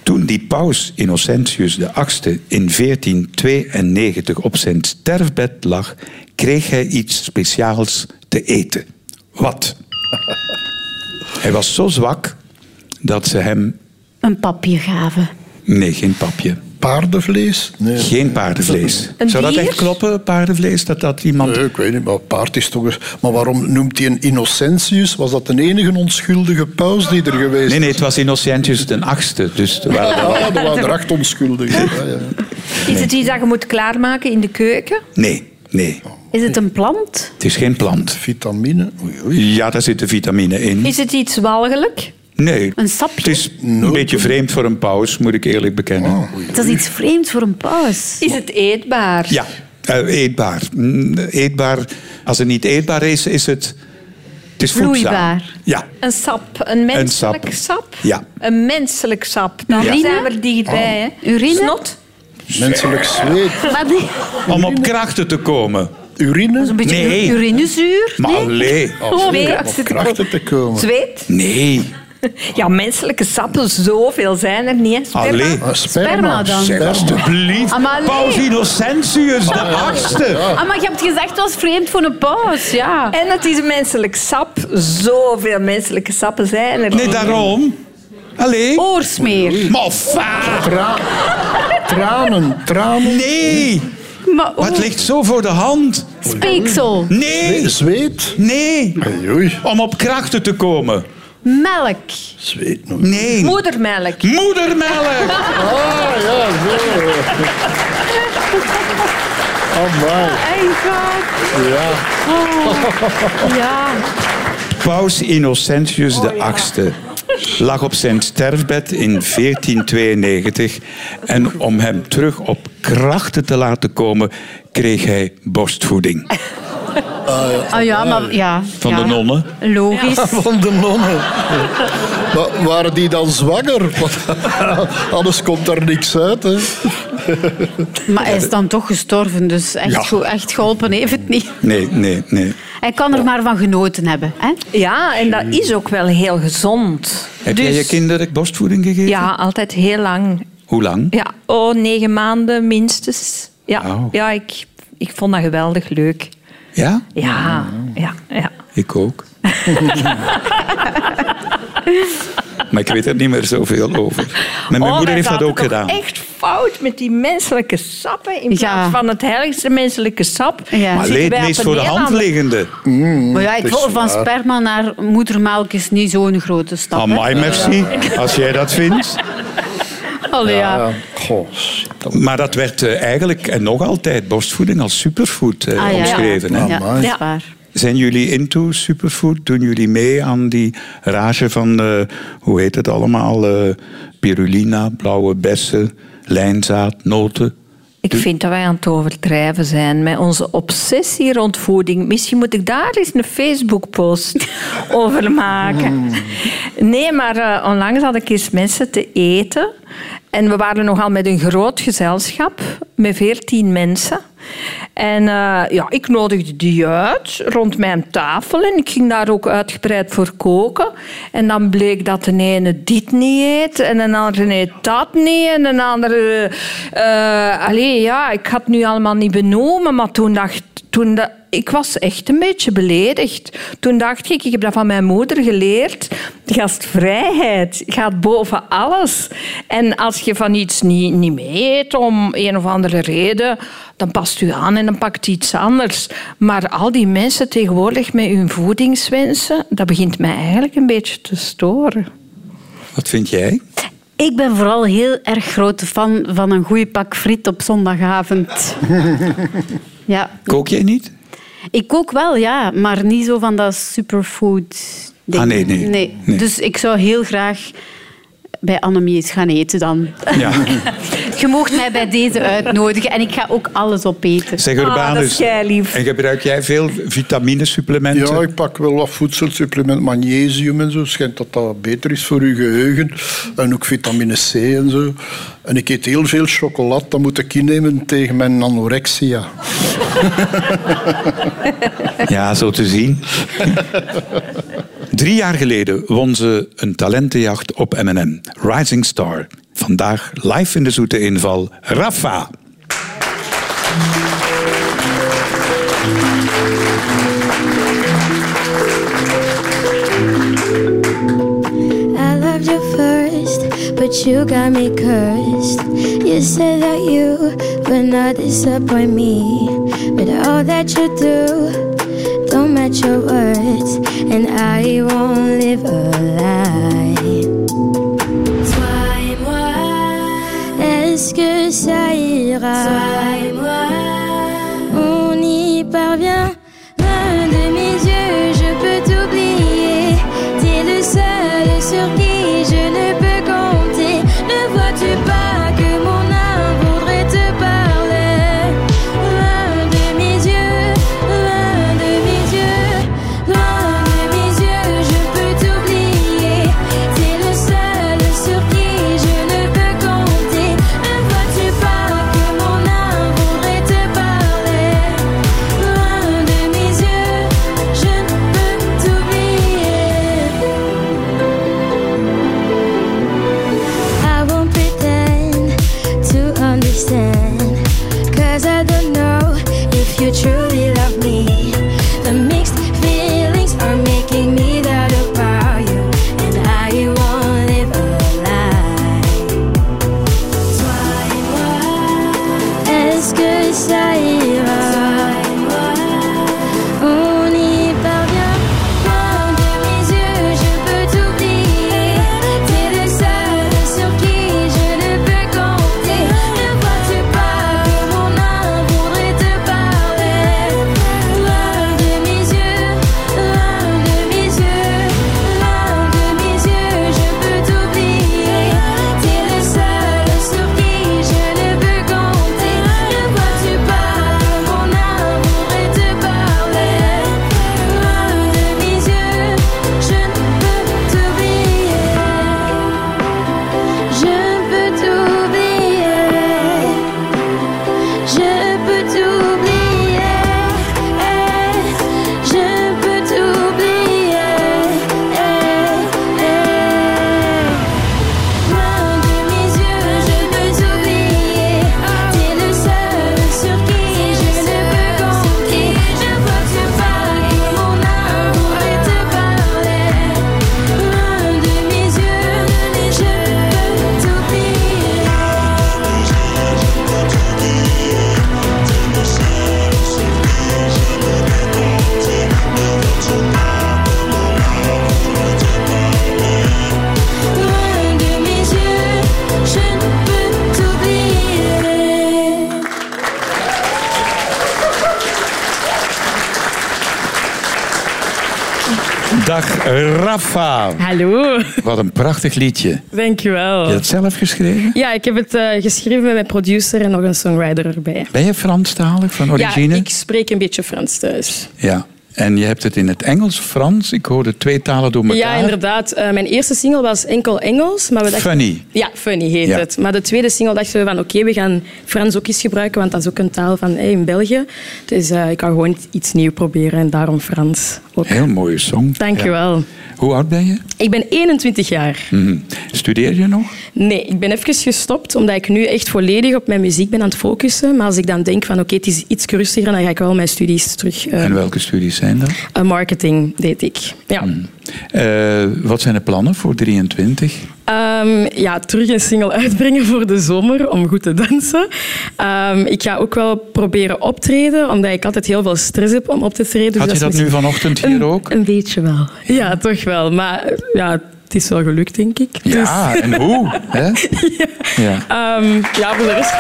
Speaker 4: Toen die paus Innocentius VIII in 1492 op zijn sterfbed lag, kreeg hij iets speciaals te eten. Wat? Hij was zo zwak dat ze hem...
Speaker 7: Een papje gaven.
Speaker 4: Nee, geen papje.
Speaker 6: Paardenvlees? Nee.
Speaker 4: Geen paardenvlees.
Speaker 5: Een
Speaker 4: Zou dat
Speaker 5: dier?
Speaker 4: echt kloppen, paardenvlees? Dat dat iemand...
Speaker 6: Nee, ik weet niet, maar paard is toch... eens- Maar waarom noemt hij een Innocentius? Was dat de enige onschuldige paus die er geweest
Speaker 4: Nee, nee, het was Innocentius de achtste. Dus er waren er wel-
Speaker 6: Ja, er waren er acht onschuldigen. Ja, ja.
Speaker 5: Is het iets dat je moet klaarmaken in de keuken?
Speaker 4: Nee, nee.
Speaker 7: Is het een plant?
Speaker 4: Het is geen plant.
Speaker 6: Vitamine. Oei, oei.
Speaker 4: Ja, daar zit de vitamine in.
Speaker 5: Is het iets walgelijk?
Speaker 4: Nee.
Speaker 7: Een sapje?
Speaker 4: Het is een beetje vreemd voor een paus, moet ik eerlijk bekennen.
Speaker 7: Het is iets vreemds voor een paus.
Speaker 5: Is het eetbaar?
Speaker 4: Ja, eh, eetbaar. Mm, Eetbaar. Als het niet eetbaar is, is het... Het is voedzaam.
Speaker 7: Vloeibaar.
Speaker 4: Ja.
Speaker 5: Een sap, een menselijk
Speaker 4: sap.
Speaker 5: sap.
Speaker 4: Ja. Oh.
Speaker 5: Een menselijk sap. Daar
Speaker 7: Urine?
Speaker 5: zijn we er dichtbij. hè.
Speaker 7: Urine?
Speaker 5: Snot?
Speaker 6: Menselijk zweet.
Speaker 7: Maar die-
Speaker 4: Om op krachten te komen.
Speaker 6: Urine.
Speaker 7: een beetje
Speaker 4: Nee.
Speaker 7: urinezuur?
Speaker 4: Maar
Speaker 7: nee? Oh.
Speaker 4: allee.
Speaker 5: Zweet?
Speaker 6: Om krachten te komen.
Speaker 5: Zweet?
Speaker 4: Nee.
Speaker 5: Ja, menselijke sappen, zoveel zijn er niet. hè. Sperma?
Speaker 4: Allee.
Speaker 6: Ah,
Speaker 7: Sperma dan.
Speaker 6: Sperma.
Speaker 4: Alsjeblieft.
Speaker 7: Ah, maar nee.
Speaker 4: Paus Innocentius de achtste.
Speaker 7: Ah, maar je hebt gezegd, het was vreemd voor een paus, ja.
Speaker 5: En het is een menselijk sap. Zoveel menselijke sappen zijn er
Speaker 4: Nee,
Speaker 5: niet.
Speaker 4: daarom. Allee.
Speaker 7: Oorsmeer.
Speaker 4: Maar fa-
Speaker 6: Tra- tranen. Tranen.
Speaker 4: Nee.
Speaker 7: Maar oh.
Speaker 4: Maar het ligt zo voor de hand.
Speaker 7: Speeksel.
Speaker 4: Nee.
Speaker 6: Zweet.
Speaker 4: Nee.
Speaker 6: Oei, oei.
Speaker 4: Om op krachten te komen.
Speaker 7: Melk.
Speaker 6: Zweet nog.
Speaker 4: Nee.
Speaker 5: Moedermelk.
Speaker 4: Moedermelk.
Speaker 6: Ah, ja, zo. Amai.
Speaker 7: Echt waar?
Speaker 6: Ja.
Speaker 7: Oh. Ja.
Speaker 4: Paus Innocentius
Speaker 7: Oh,
Speaker 4: de achtste lag op zijn sterfbed in 1492 en om hem terug op krachten te laten komen kreeg hij borstvoeding
Speaker 7: Ah ja, maar ja.
Speaker 4: Eh, van
Speaker 7: ja.
Speaker 4: de nonnen.
Speaker 7: Logisch.
Speaker 6: Van de nonnen. Wa- waren die dan zwanger? Want Anders komt daar niks uit. Hè.
Speaker 7: Maar hij is dan toch gestorven, dus echt,
Speaker 4: Ja.
Speaker 7: goed, echt geholpen heeft het niet.
Speaker 4: Nee, nee, nee.
Speaker 7: Hij kan er maar van genoten hebben. Hè?
Speaker 5: Ja, en dat is ook wel heel gezond. Dus
Speaker 4: Heb jij
Speaker 7: Dus-
Speaker 4: je kinderen borstvoeding gegeven?
Speaker 5: Ja, altijd heel lang.
Speaker 4: Hoe lang?
Speaker 5: Ja, oh, negen maanden minstens. Ja,
Speaker 4: Wauw.
Speaker 5: ja ik, ik vond dat geweldig leuk.
Speaker 4: Ja,
Speaker 5: Ja, ja, ja.
Speaker 4: ik ook. maar ik weet er niet meer zoveel over. Maar mijn
Speaker 5: Oh, wij
Speaker 4: moeder heeft dat
Speaker 5: zaten
Speaker 4: ook
Speaker 5: toch
Speaker 4: gedaan.
Speaker 5: echt fout met die menselijke sappen. In
Speaker 7: Ja.
Speaker 5: plaats van het heiligste menselijke sap.
Speaker 7: Ja.
Speaker 4: Maar
Speaker 5: zitten
Speaker 4: leed
Speaker 5: wij op
Speaker 4: meest
Speaker 5: een
Speaker 4: voor de
Speaker 5: heel
Speaker 4: hand
Speaker 5: ander-
Speaker 4: liggende. Mm,
Speaker 7: maar ja, het vol van sperma naar moedermelk is niet zo'n grote stap. hè.
Speaker 4: Amai, merci. Als jij dat vindt.
Speaker 7: Allee, ja.
Speaker 6: Ja. Goh, shit.
Speaker 4: Maar dat werd eh, eigenlijk en nog altijd borstvoeding als superfood eh,
Speaker 7: Ah, ja.
Speaker 4: omschreven. Hè?
Speaker 7: Ja,
Speaker 6: Amai.
Speaker 7: dat is
Speaker 5: Ja.
Speaker 7: waar.
Speaker 4: Zijn jullie into superfood? Doen jullie mee aan die rage van, eh, hoe heet het allemaal? eh, pirulina, blauwe bessen, lijnzaad, noten.
Speaker 5: Ik vind dat wij aan het overdrijven zijn met onze obsessie rond voeding. Misschien moet ik daar eens een Facebook-post over maken. Nee, maar eh, onlangs had ik eens mensen te eten. En we waren nogal met een groot gezelschap, met veertien mensen. En eh, ja, ik nodigde die uit rond mijn tafel. En ik ging daar ook uitgebreid voor koken. En dan bleek dat de ene dit niet eet. En een andere eet dat niet. En een andere... eh allee, ja, ik had het nu allemaal niet benoemen. Maar toen dacht... Toen da- ik was echt een beetje beledigd. Toen dacht ik, ik heb dat van mijn moeder geleerd. Gastvrijheid gaat boven alles. En als je van iets niet, niet mee eet om een of andere reden, dan past u aan en dan pakt u iets anders. Maar al die mensen tegenwoordig met hun voedingswensen, dat begint mij eigenlijk een beetje te storen.
Speaker 4: Wat vind jij?
Speaker 7: Ik ben vooral heel erg grote fan van een goeie pak friet op zondagavond. ja,
Speaker 4: Kook jij niet?
Speaker 7: ik kook wel, ja, maar niet zo van dat superfood ding.
Speaker 4: Ah, nee, nee. Nee.
Speaker 7: Dus ik zou heel graag bij Annemies gaan eten dan.
Speaker 4: Ja.
Speaker 7: Je mocht mij bij deze uitnodigen en ik ga ook alles opeten.
Speaker 4: Zeg
Speaker 5: Ah, dat is
Speaker 4: Urbanus.
Speaker 5: jij lief.
Speaker 4: en gebruik jij veel vitaminesupplementen?
Speaker 6: Ja, ik pak wel wat voedselsupplement, magnesium en zo. Schijnt dat dat beter is voor uw geheugen. En ook vitamine C en zo. En ik eet heel veel chocolade. Dat moet ik innemen tegen mijn anorexia.
Speaker 4: Ja, zo te zien. Drie jaar geleden won ze een talentenjacht op M&M, Rising Star. Vandaag live in de zoete inval, Rafa.
Speaker 8: I loved you first, but you got me cursed. You said that you would not disappoint me, but all that you do don't match your words, and I won't live a lie. Est-ce que ça ira On y parvient. Loin de mes yeux, je peux t'oublier. T'es le seul sur qui je ne peux compter. Ne vois-tu pas que mon âme voudrait te parler Loin de mes yeux, loin de mes yeux, loin de mes yeux, je peux t'oublier. T'es le seul sur qui je ne peux compter. Ne vois-tu pas que mon âme voudrait te parler Loin de mes yeux, je ne peux t'oublier. I won't pretend to understand. Cause I don't know if you truly love me. The mixed feelings are making me doubt about you. And I won't live a lie. Est-ce que ça ira? On y parvient. Loin de mes yeux, je peux t'oublier. T'es le seul sur qui je ne peux compter. Ne vois-tu pas que mon âme voudrait te parler? Loin de mes yeux, loin de mes yeux, loin de mes yeux, je peux t'oublier. T'es le seul sur qui je ne peux compter. Ne vois-tu pas que mon âme voudrait te parler? Loin de mes yeux, je ne peux t'oublier. Je peux t'oublier. Je peux t'oublier. Je peux t'oublier. Loin de mes yeux, je peux t'oublier. T'es le seul sur qui je ne peux compter. Je vois que pas que mon âme pourrait te parler. Loin de mes yeux, je peux t'oublier. Loin de mes yeux, je ne peux t'oublier.
Speaker 4: Dag Rafa.
Speaker 9: Hallo,
Speaker 4: Wat een prachtig liedje. Heb
Speaker 9: dankjewel.
Speaker 4: je het zelf geschreven?
Speaker 9: Ja, ik heb het eh, geschreven met mijn producer en nog een songwriter erbij.
Speaker 4: Ben je Franstalig van origine?
Speaker 9: Ja, ik spreek een beetje Frans thuis.
Speaker 4: Ja. En je hebt het in het Engels, Frans. Ik hoorde twee talen door elkaar.
Speaker 9: Ja, inderdaad. Eh, mijn eerste single was enkel Engels. Maar we dachten,
Speaker 4: Funny.
Speaker 9: Ja, Funny heet
Speaker 4: Ja.
Speaker 9: het. Maar de tweede single dachten we van oké, we gaan Frans ook eens gebruiken, want dat is ook een taal van eh, in België. Dus eh, ik kan gewoon iets nieuws proberen en daarom Frans ook.
Speaker 4: Heel mooie song.
Speaker 9: Dankjewel.
Speaker 4: Ja. Hoe oud ben je?
Speaker 9: Ik ben 21 jaar.
Speaker 4: Mhm. Studeer je nog?
Speaker 9: Nee, ik ben even gestopt omdat ik nu echt volledig op mijn muziek ben aan het focussen. Maar als ik dan denk van oké, het is iets rustiger, dan ga ik wel mijn studies terug. eh,
Speaker 4: En welke studies zijn dat?
Speaker 9: eh, marketing deed ik. Ja.
Speaker 4: Hmm. Eh, wat zijn de plannen voor 23?
Speaker 9: Ehm, ja, terug een single uitbrengen voor de zomer om goed te dansen. Ehm, ik ga ook wel proberen optreden, omdat ik altijd heel veel stress heb om op te treden. Dus
Speaker 4: Had je
Speaker 9: is
Speaker 4: dat nu
Speaker 9: misschien-
Speaker 4: vanochtend hier
Speaker 9: een,
Speaker 4: ook?
Speaker 9: Een beetje wel. Ja, toch wel. Maar eh, ja, het is wel gelukt, denk ik.
Speaker 4: Ja,
Speaker 9: Dus-
Speaker 4: en hoe? Hè? Ja.
Speaker 9: Ehm, ja, voor de rest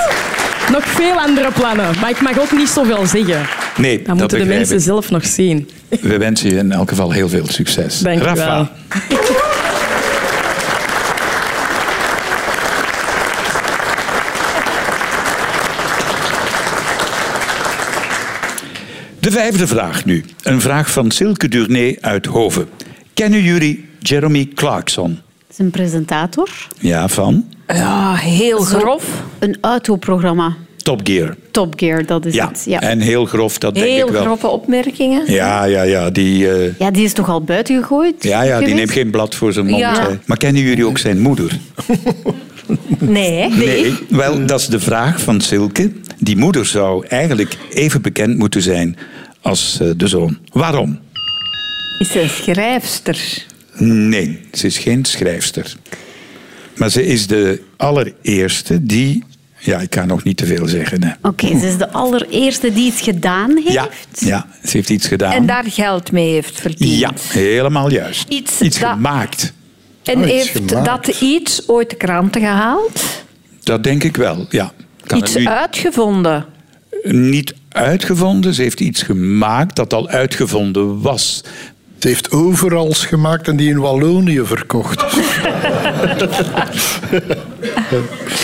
Speaker 9: nog veel andere plannen. Maar ik mag ook niet zoveel zeggen.
Speaker 4: Nee,
Speaker 9: Dat,
Speaker 4: dat
Speaker 9: moeten de
Speaker 4: begrijp
Speaker 9: mensen
Speaker 4: ik.
Speaker 9: zelf nog zien.
Speaker 4: We wensen je in elk geval heel veel succes.
Speaker 9: Dank je
Speaker 4: Rafa.
Speaker 9: wel.
Speaker 4: De vijfde vraag nu. Een vraag van Silke Durnay uit Hoven. Kennen jullie Jeremy Clarkson?
Speaker 7: is een presentator.
Speaker 4: Ja, van
Speaker 5: Ja, heel
Speaker 7: Zo-
Speaker 5: grof.
Speaker 7: Een autoprogramma.
Speaker 4: Top Gear.
Speaker 7: Top Gear, dat is
Speaker 4: Ja,
Speaker 7: het. Ja.
Speaker 4: en heel grof, dat denk
Speaker 5: Heel
Speaker 4: ik wel.
Speaker 5: grove opmerkingen.
Speaker 4: Ja, ja, ja. Die, eh,
Speaker 7: ja, die is toch al buiten gegooid?
Speaker 4: ja, ja, die
Speaker 7: geweest?
Speaker 4: neemt geen blad voor zijn mond.
Speaker 5: Ja.
Speaker 4: hè. Maar kennen jullie ook zijn moeder?
Speaker 5: Nee.
Speaker 4: Nee, wel, dat is de vraag van Silke. Die moeder zou eigenlijk even bekend moeten zijn als eh, de zoon. Waarom?
Speaker 5: Is ze een schrijfster?
Speaker 4: Nee, ze is geen schrijfster. Maar ze is de allereerste die... Ja, ik kan nog niet te veel zeggen. Hè.
Speaker 7: Oké, ze is de allereerste die iets gedaan heeft.
Speaker 4: Ja, ja, ze heeft iets gedaan.
Speaker 5: En daar geld mee heeft verdiend.
Speaker 4: Ah. Ja, helemaal juist.
Speaker 5: Iets dat-
Speaker 4: gemaakt.
Speaker 5: En
Speaker 6: Oh, iets
Speaker 5: heeft
Speaker 6: gemaakt.
Speaker 5: dat iets ooit de kranten gehaald?
Speaker 4: Dat denk ik wel, ja. Kan
Speaker 5: iets
Speaker 4: het nu
Speaker 5: uitgevonden?
Speaker 4: niet uitgevonden. Ze heeft iets gemaakt dat al uitgevonden was.
Speaker 6: Het heeft overals gemaakt en die in Wallonië verkocht.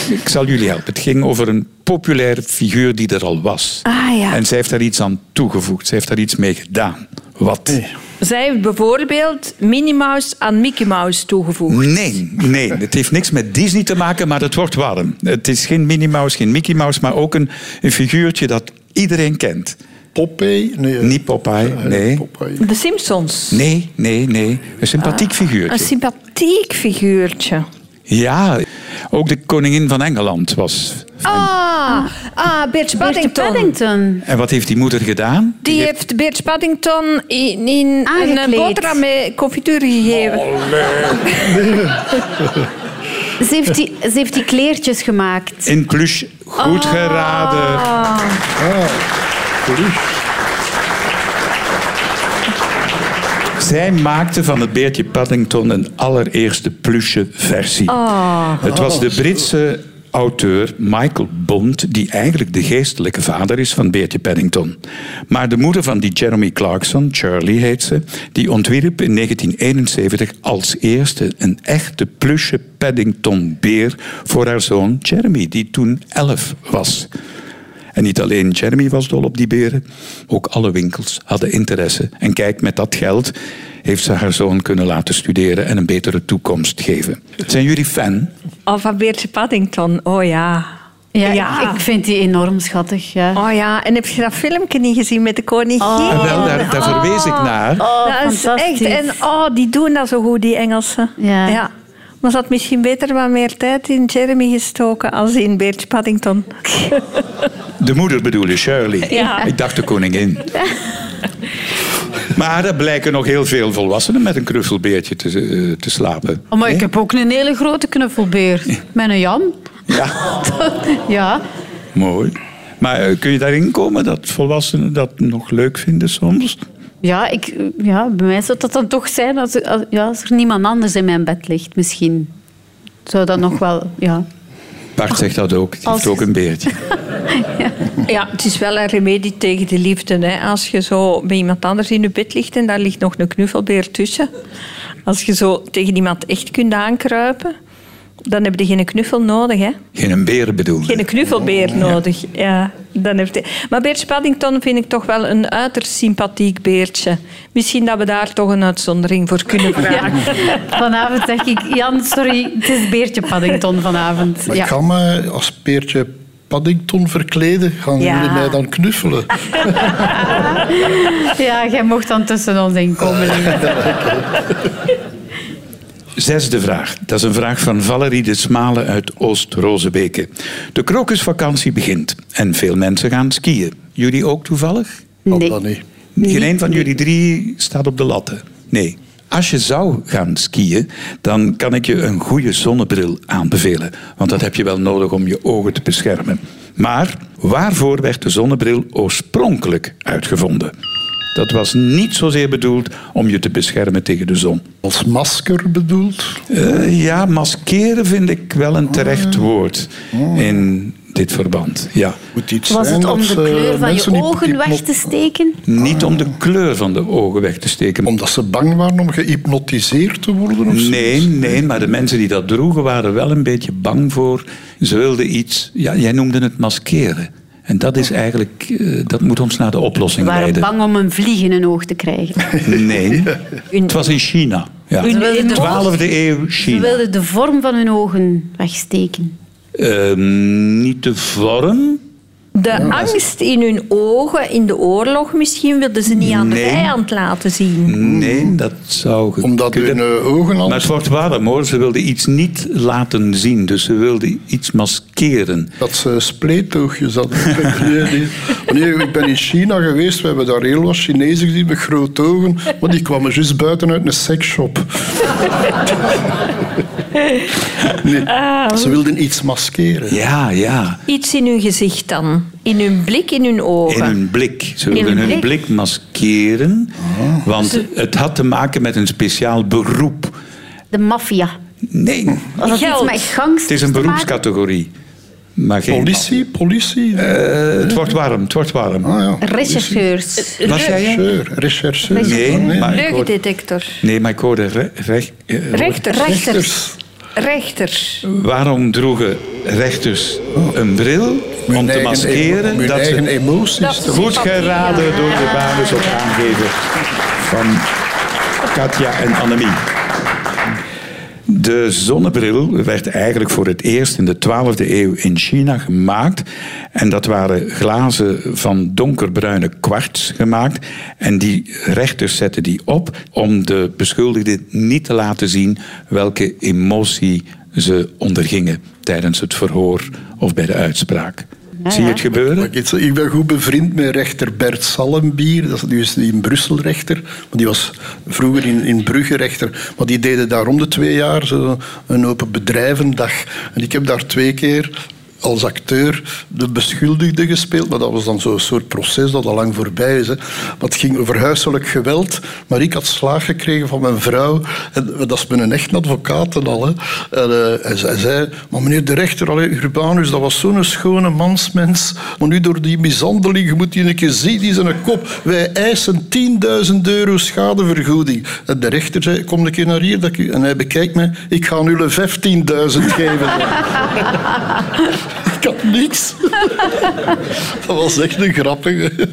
Speaker 4: Ik zal jullie helpen. Het ging over een populaire figuur die er al was.
Speaker 5: Ah, ja.
Speaker 4: En zij heeft daar iets aan toegevoegd. Ze heeft daar iets mee gedaan. Wat?
Speaker 5: Zij heeft bijvoorbeeld Minnie Mouse aan Mickey Mouse toegevoegd.
Speaker 4: Nee, nee, het heeft niks met Disney te maken, maar het wordt warm. Het is geen Minnie Mouse, geen Mickey Mouse, maar ook een, een figuurtje dat iedereen kent.
Speaker 6: Popeye? Nee.
Speaker 4: Niet Popeye,
Speaker 6: Eh,
Speaker 4: nee.
Speaker 6: Popeye.
Speaker 5: De Simpsons.
Speaker 4: Nee, nee, nee. Een sympathiek figuurtje.
Speaker 5: Een sympathiek figuurtje.
Speaker 4: Ja, ook de koningin van Engeland was.
Speaker 5: Ah, ah Beertje
Speaker 7: Paddington.
Speaker 5: Paddington.
Speaker 7: Paddington.
Speaker 4: En wat heeft die moeder gedaan?
Speaker 5: Die heeft Beertje Paddington in, in een
Speaker 7: Aangekleed.
Speaker 5: boterham met confituur gegeven.
Speaker 7: Ze heeft, die, ze heeft die kleertjes gemaakt.
Speaker 4: In plush, goed
Speaker 5: Oh.
Speaker 4: geraden. Zij maakte van het beertje Paddington een allereerste plusje versie. Het was de Britse auteur Michael Bond die eigenlijk de geestelijke vader is van Beertje Paddington. Maar de moeder van die Jeremy Clarkson, Shirley heet ze, die ontwierp in 1971 als eerste een echte plusje Paddington-beer voor haar zoon Jeremy, die toen 11 was. En niet alleen Jeremy was dol op die beren, ook alle winkels hadden interesse. En kijk, met dat geld heeft ze haar zoon kunnen laten studeren en een betere toekomst geven. Zijn jullie fan?
Speaker 5: Of van Beertje Paddington, oh ja.
Speaker 7: Ja,
Speaker 5: Ja.
Speaker 7: Ik, ik vind die enorm schattig. Ja.
Speaker 5: Oh ja, en heb je dat filmpje niet gezien met de koningin? Ah.
Speaker 4: En Ah, wel, daar, daar
Speaker 7: Ah.
Speaker 4: verwees ik naar.
Speaker 5: dat is echt.
Speaker 7: fantastisch.
Speaker 5: En oh, die doen dat zo goed, die Engelsen.
Speaker 7: Ja.
Speaker 5: Maar ze had misschien beter wat meer tijd in Jeremy gestoken als in Beertje Paddington.
Speaker 4: De moeder bedoel je, Shirley.
Speaker 5: Ja.
Speaker 4: Ik dacht de koningin. Maar er blijken nog heel veel volwassenen met een knuffelbeertje te, eh, te slapen.
Speaker 7: Oh, maar ik heb ook een hele grote knuffelbeer. Met een Jan.
Speaker 4: Ja,
Speaker 7: Ja.
Speaker 4: mooi. Maar eh, kun je daarin komen dat volwassenen dat nog leuk vinden soms?
Speaker 7: Ja, ik, ja, bij mij zou dat dan toch zijn als, als, ja, als er niemand anders in mijn bed ligt, misschien. Zou dat nog wel, ja.
Speaker 4: Bart zegt dat ook. Die heeft
Speaker 7: Als-
Speaker 4: ook een beertje.
Speaker 5: Ja, het is wel een remedie tegen de liefde. Hè. Als je zo bij iemand anders in je bed ligt en daar ligt nog een knuffelbeer tussen. Als je zo tegen iemand echt kunt aankruipen, dan heb je geen knuffel nodig. Hè.
Speaker 4: Geen een beer bedoel
Speaker 5: Geen knuffelbeer nodig. Ja, dan heb je... Maar Beertje Paddington vind ik toch wel een uiterst sympathiek beertje. Misschien dat we daar toch een uitzondering voor kunnen vragen.
Speaker 7: Vanavond zeg ik, Jan, sorry, het is Beertje Paddington vanavond.
Speaker 6: Maar
Speaker 7: Ja.
Speaker 6: ik ga me als peertje Paddington verkleden. Gaan
Speaker 5: Ja.
Speaker 6: jullie mij dan knuffelen?
Speaker 7: Ah, ja, jij mocht dan tussen ons inkomen.
Speaker 6: Eh,
Speaker 7: liggen.
Speaker 4: Zesde vraag. Dat is een vraag van Valerie de Smale uit Oost-Rozebeke. De krokusvakantie begint en veel mensen gaan skiën. Jullie ook toevallig?
Speaker 6: Of
Speaker 7: Nee.
Speaker 6: dan niet?
Speaker 4: Geen een van jullie drie staat op de latten. Nee. Als je zou gaan skiën, dan kan ik je een goede zonnebril aanbevelen. Want dat heb je wel nodig om je ogen te beschermen. Maar waarvoor werd de zonnebril oorspronkelijk uitgevonden? Dat was niet zozeer bedoeld om je te beschermen tegen de zon.
Speaker 6: Als masker bedoeld?
Speaker 4: Eh, ja, maskeren vind ik wel een terecht woord in dit verband. Ja.
Speaker 6: Moet iets
Speaker 7: Was
Speaker 6: zijn
Speaker 7: het om
Speaker 6: dat,
Speaker 7: de
Speaker 6: eh,
Speaker 7: kleur van
Speaker 6: mensen
Speaker 7: je
Speaker 6: die- die-
Speaker 7: ogen weg te steken?
Speaker 4: Niet om de kleur van de ogen weg te steken.
Speaker 6: Omdat ze bang waren om gehypnotiseerd te worden? Of zo?
Speaker 4: Nee, nee, maar de mensen die dat droegen waren wel een beetje bang voor. Ze wilden iets. Ja, jij noemde het maskeren. En dat is eigenlijk. eh, dat moet ons naar de
Speaker 7: We
Speaker 4: oplossing
Speaker 7: waren
Speaker 4: leiden.
Speaker 7: bang om een vlieg in hun oog te krijgen.
Speaker 4: Nee. Het was in China. Ja.
Speaker 7: Ze wilden de-
Speaker 4: 12e eeuw
Speaker 7: Ze
Speaker 4: China.
Speaker 7: wilden de vorm van hun ogen wegsteken.
Speaker 4: Ehm, niet de vorm,
Speaker 5: De De angst in hun ogen, in de oorlog misschien, wilden ze niet aan de
Speaker 4: Nee.
Speaker 5: vijand laten zien.
Speaker 7: Mm.
Speaker 4: Nee, dat zou ge-
Speaker 6: Omdat
Speaker 4: kunnen.
Speaker 6: hun eh, ogen al...
Speaker 4: Maar het wordt warm hoor. Ze wilden iets niet laten zien. Dus ze wilden iets maskeren.
Speaker 6: Dat ze spleetoogjes hadden. nee, nee. nee, ik ben in China geweest. We hebben daar heel wat Chinezen gezien met grote ogen. Maar die kwamen juist buiten uit een seksshop. nee. Ze wilden iets maskeren.
Speaker 4: Ja, ja.
Speaker 5: Iets in hun gezicht dan. In hun blik, in hun
Speaker 4: In
Speaker 5: ogen.
Speaker 4: hun blik. Ze
Speaker 5: In
Speaker 4: wilden
Speaker 5: hun
Speaker 4: hun blik, maskeren. Want het had te maken met een speciaal beroep.
Speaker 7: De maffia.
Speaker 4: Nee,
Speaker 7: Als dat iets
Speaker 5: Geld.
Speaker 7: met gangsters
Speaker 4: het is een
Speaker 7: te maken-
Speaker 4: beroepscategorie. Maar geen
Speaker 6: Politie, politie.
Speaker 4: Eh, het wordt warm, het wordt warm.
Speaker 6: Ah, ja.
Speaker 7: Rechercheurs.
Speaker 4: Was jij er?
Speaker 6: Rechercheur. Rechercheur.
Speaker 4: Nee,
Speaker 6: Ah,
Speaker 4: maar ik hoorde,
Speaker 5: Leugendetector.
Speaker 4: nee, maar ik hoorde re- rech- eh,
Speaker 5: Rechter.
Speaker 6: Rechters.
Speaker 5: Rechter.
Speaker 4: Waarom droegen rechters een bril om te
Speaker 6: Hun eigen emo-
Speaker 4: maskeren?
Speaker 6: Hun
Speaker 4: Dat
Speaker 6: eigen
Speaker 4: ze
Speaker 6: emoties.
Speaker 5: Dat-
Speaker 6: te-
Speaker 4: goed geraden door de basis op aangeven van Katja en Annemie. De zonnebril werd eigenlijk voor het eerst in de 12e eeuw in China gemaakt. En dat waren glazen van donkerbruine kwarts gemaakt. En die rechters zetten die op om de beschuldigden niet te laten zien welke emotie ze ondergingen tijdens het verhoor of bij de uitspraak. Zie je het gebeuren?
Speaker 6: Ik weet- Ik ben goed bevriend met rechter Bert Sallenbier. Dat is die is in Brussel rechter. Maar die was vroeger in, in Brugge rechter. Maar die deden daar om de twee jaar zo een open bedrijvendag. En ik heb daar twee keer als acteur de beschuldigde gespeeld. Maar dat was dan zo'n soort proces dat al lang voorbij is. Hè. Maar het ging over huiselijk geweld. Maar ik had slaag gekregen van mijn vrouw. En dat is mijn echte advocaat en al. Hè. En, eh, hij, zei- hij zei, maar meneer de rechter, allee, Urbanus, dat was zo'n schone mansmens. Maar nu door die mishandeling, je moet die een keer zien, die is een kop. Wij eisen 10.000 euro schadevergoeding. En de rechter zei, kom een keer naar hier. Dat ik u... En hij bekijkt mij, ik ga nu 15.000 geven. ik had niks. dat was echt een grappige.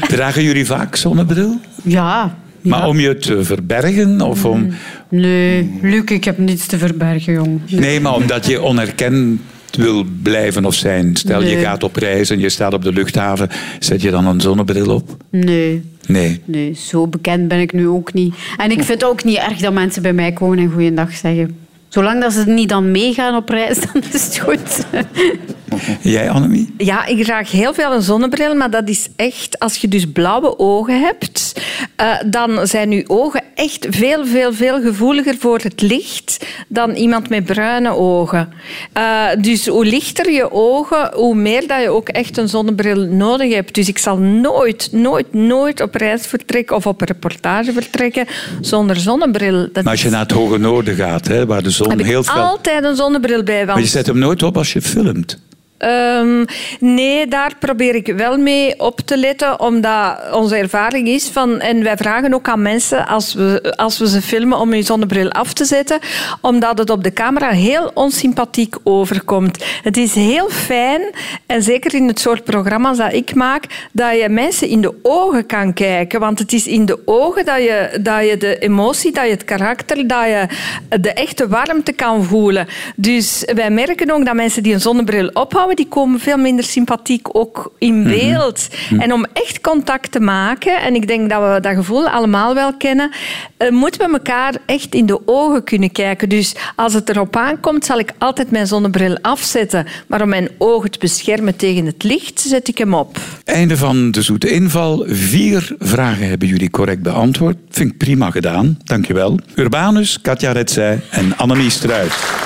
Speaker 4: Dragen jullie vaak zonnebril?
Speaker 10: Ja.
Speaker 4: Maar om je te verbergen of om...
Speaker 5: Mm,
Speaker 10: Nee, Luc, ik heb niets te verbergen, jong.
Speaker 4: Nee, maar omdat je onherkend wil blijven of zijn. Stel, je
Speaker 10: Nee.
Speaker 4: gaat op reis en je staat op de luchthaven. Zet je dan een zonnebril op?
Speaker 10: Nee.
Speaker 4: Nee.
Speaker 10: Nee, zo bekend ben ik nu ook niet. En ik vind het ook niet erg dat mensen bij mij komen en goeiedag zeggen. Zolang dat ze niet dan meegaan op reis, dan is het goed.
Speaker 4: Jij, Annemie?
Speaker 5: Ja, ik draag heel veel een zonnebril, maar dat is echt... Als je dus blauwe ogen hebt, eh, dan zijn je ogen echt veel, veel, veel gevoeliger voor het licht dan iemand met bruine ogen. Eh, dus hoe lichter je ogen, hoe meer dat je ook echt een zonnebril nodig hebt. Dus ik zal nooit, nooit, nooit op reis vertrekken of op reportage vertrekken zonder zonnebril. Dat
Speaker 4: Maar als je naar het Hoge Noorden gaat, hè, waar de zon
Speaker 5: heb ik
Speaker 4: heel fel...
Speaker 5: altijd een zonnebril bij.
Speaker 4: Maar
Speaker 5: Want
Speaker 4: je zet hem nooit op als je filmt.
Speaker 5: Ehm, nee, daar probeer ik wel mee op te letten, omdat onze ervaring is van, en wij vragen ook aan mensen als we, als we ze filmen om hun zonnebril af te zetten, omdat het op de camera heel onsympathiek overkomt. Het is heel fijn, en zeker in het soort programma's dat ik maak, dat je mensen in de ogen kan kijken, want het is in de ogen dat je, dat je de emotie, dat je het karakter, dat je de echte warmte kan voelen. Dus wij merken ook dat mensen die een zonnebril ophouden, die komen veel minder sympathiek ook in beeld. En om echt contact te maken, en ik denk dat we dat gevoel allemaal wel kennen, eh, moeten we elkaar echt in de ogen kunnen kijken. Dus als het erop aankomt, zal ik altijd mijn zonnebril afzetten. Maar om mijn ogen te beschermen tegen het licht, zet ik hem op.
Speaker 4: Einde van de zoete inval. Vier vragen hebben jullie correct beantwoord. Vind ik prima gedaan. Dankjewel. Urbanus, Katja Retzij en Annemie Struijs.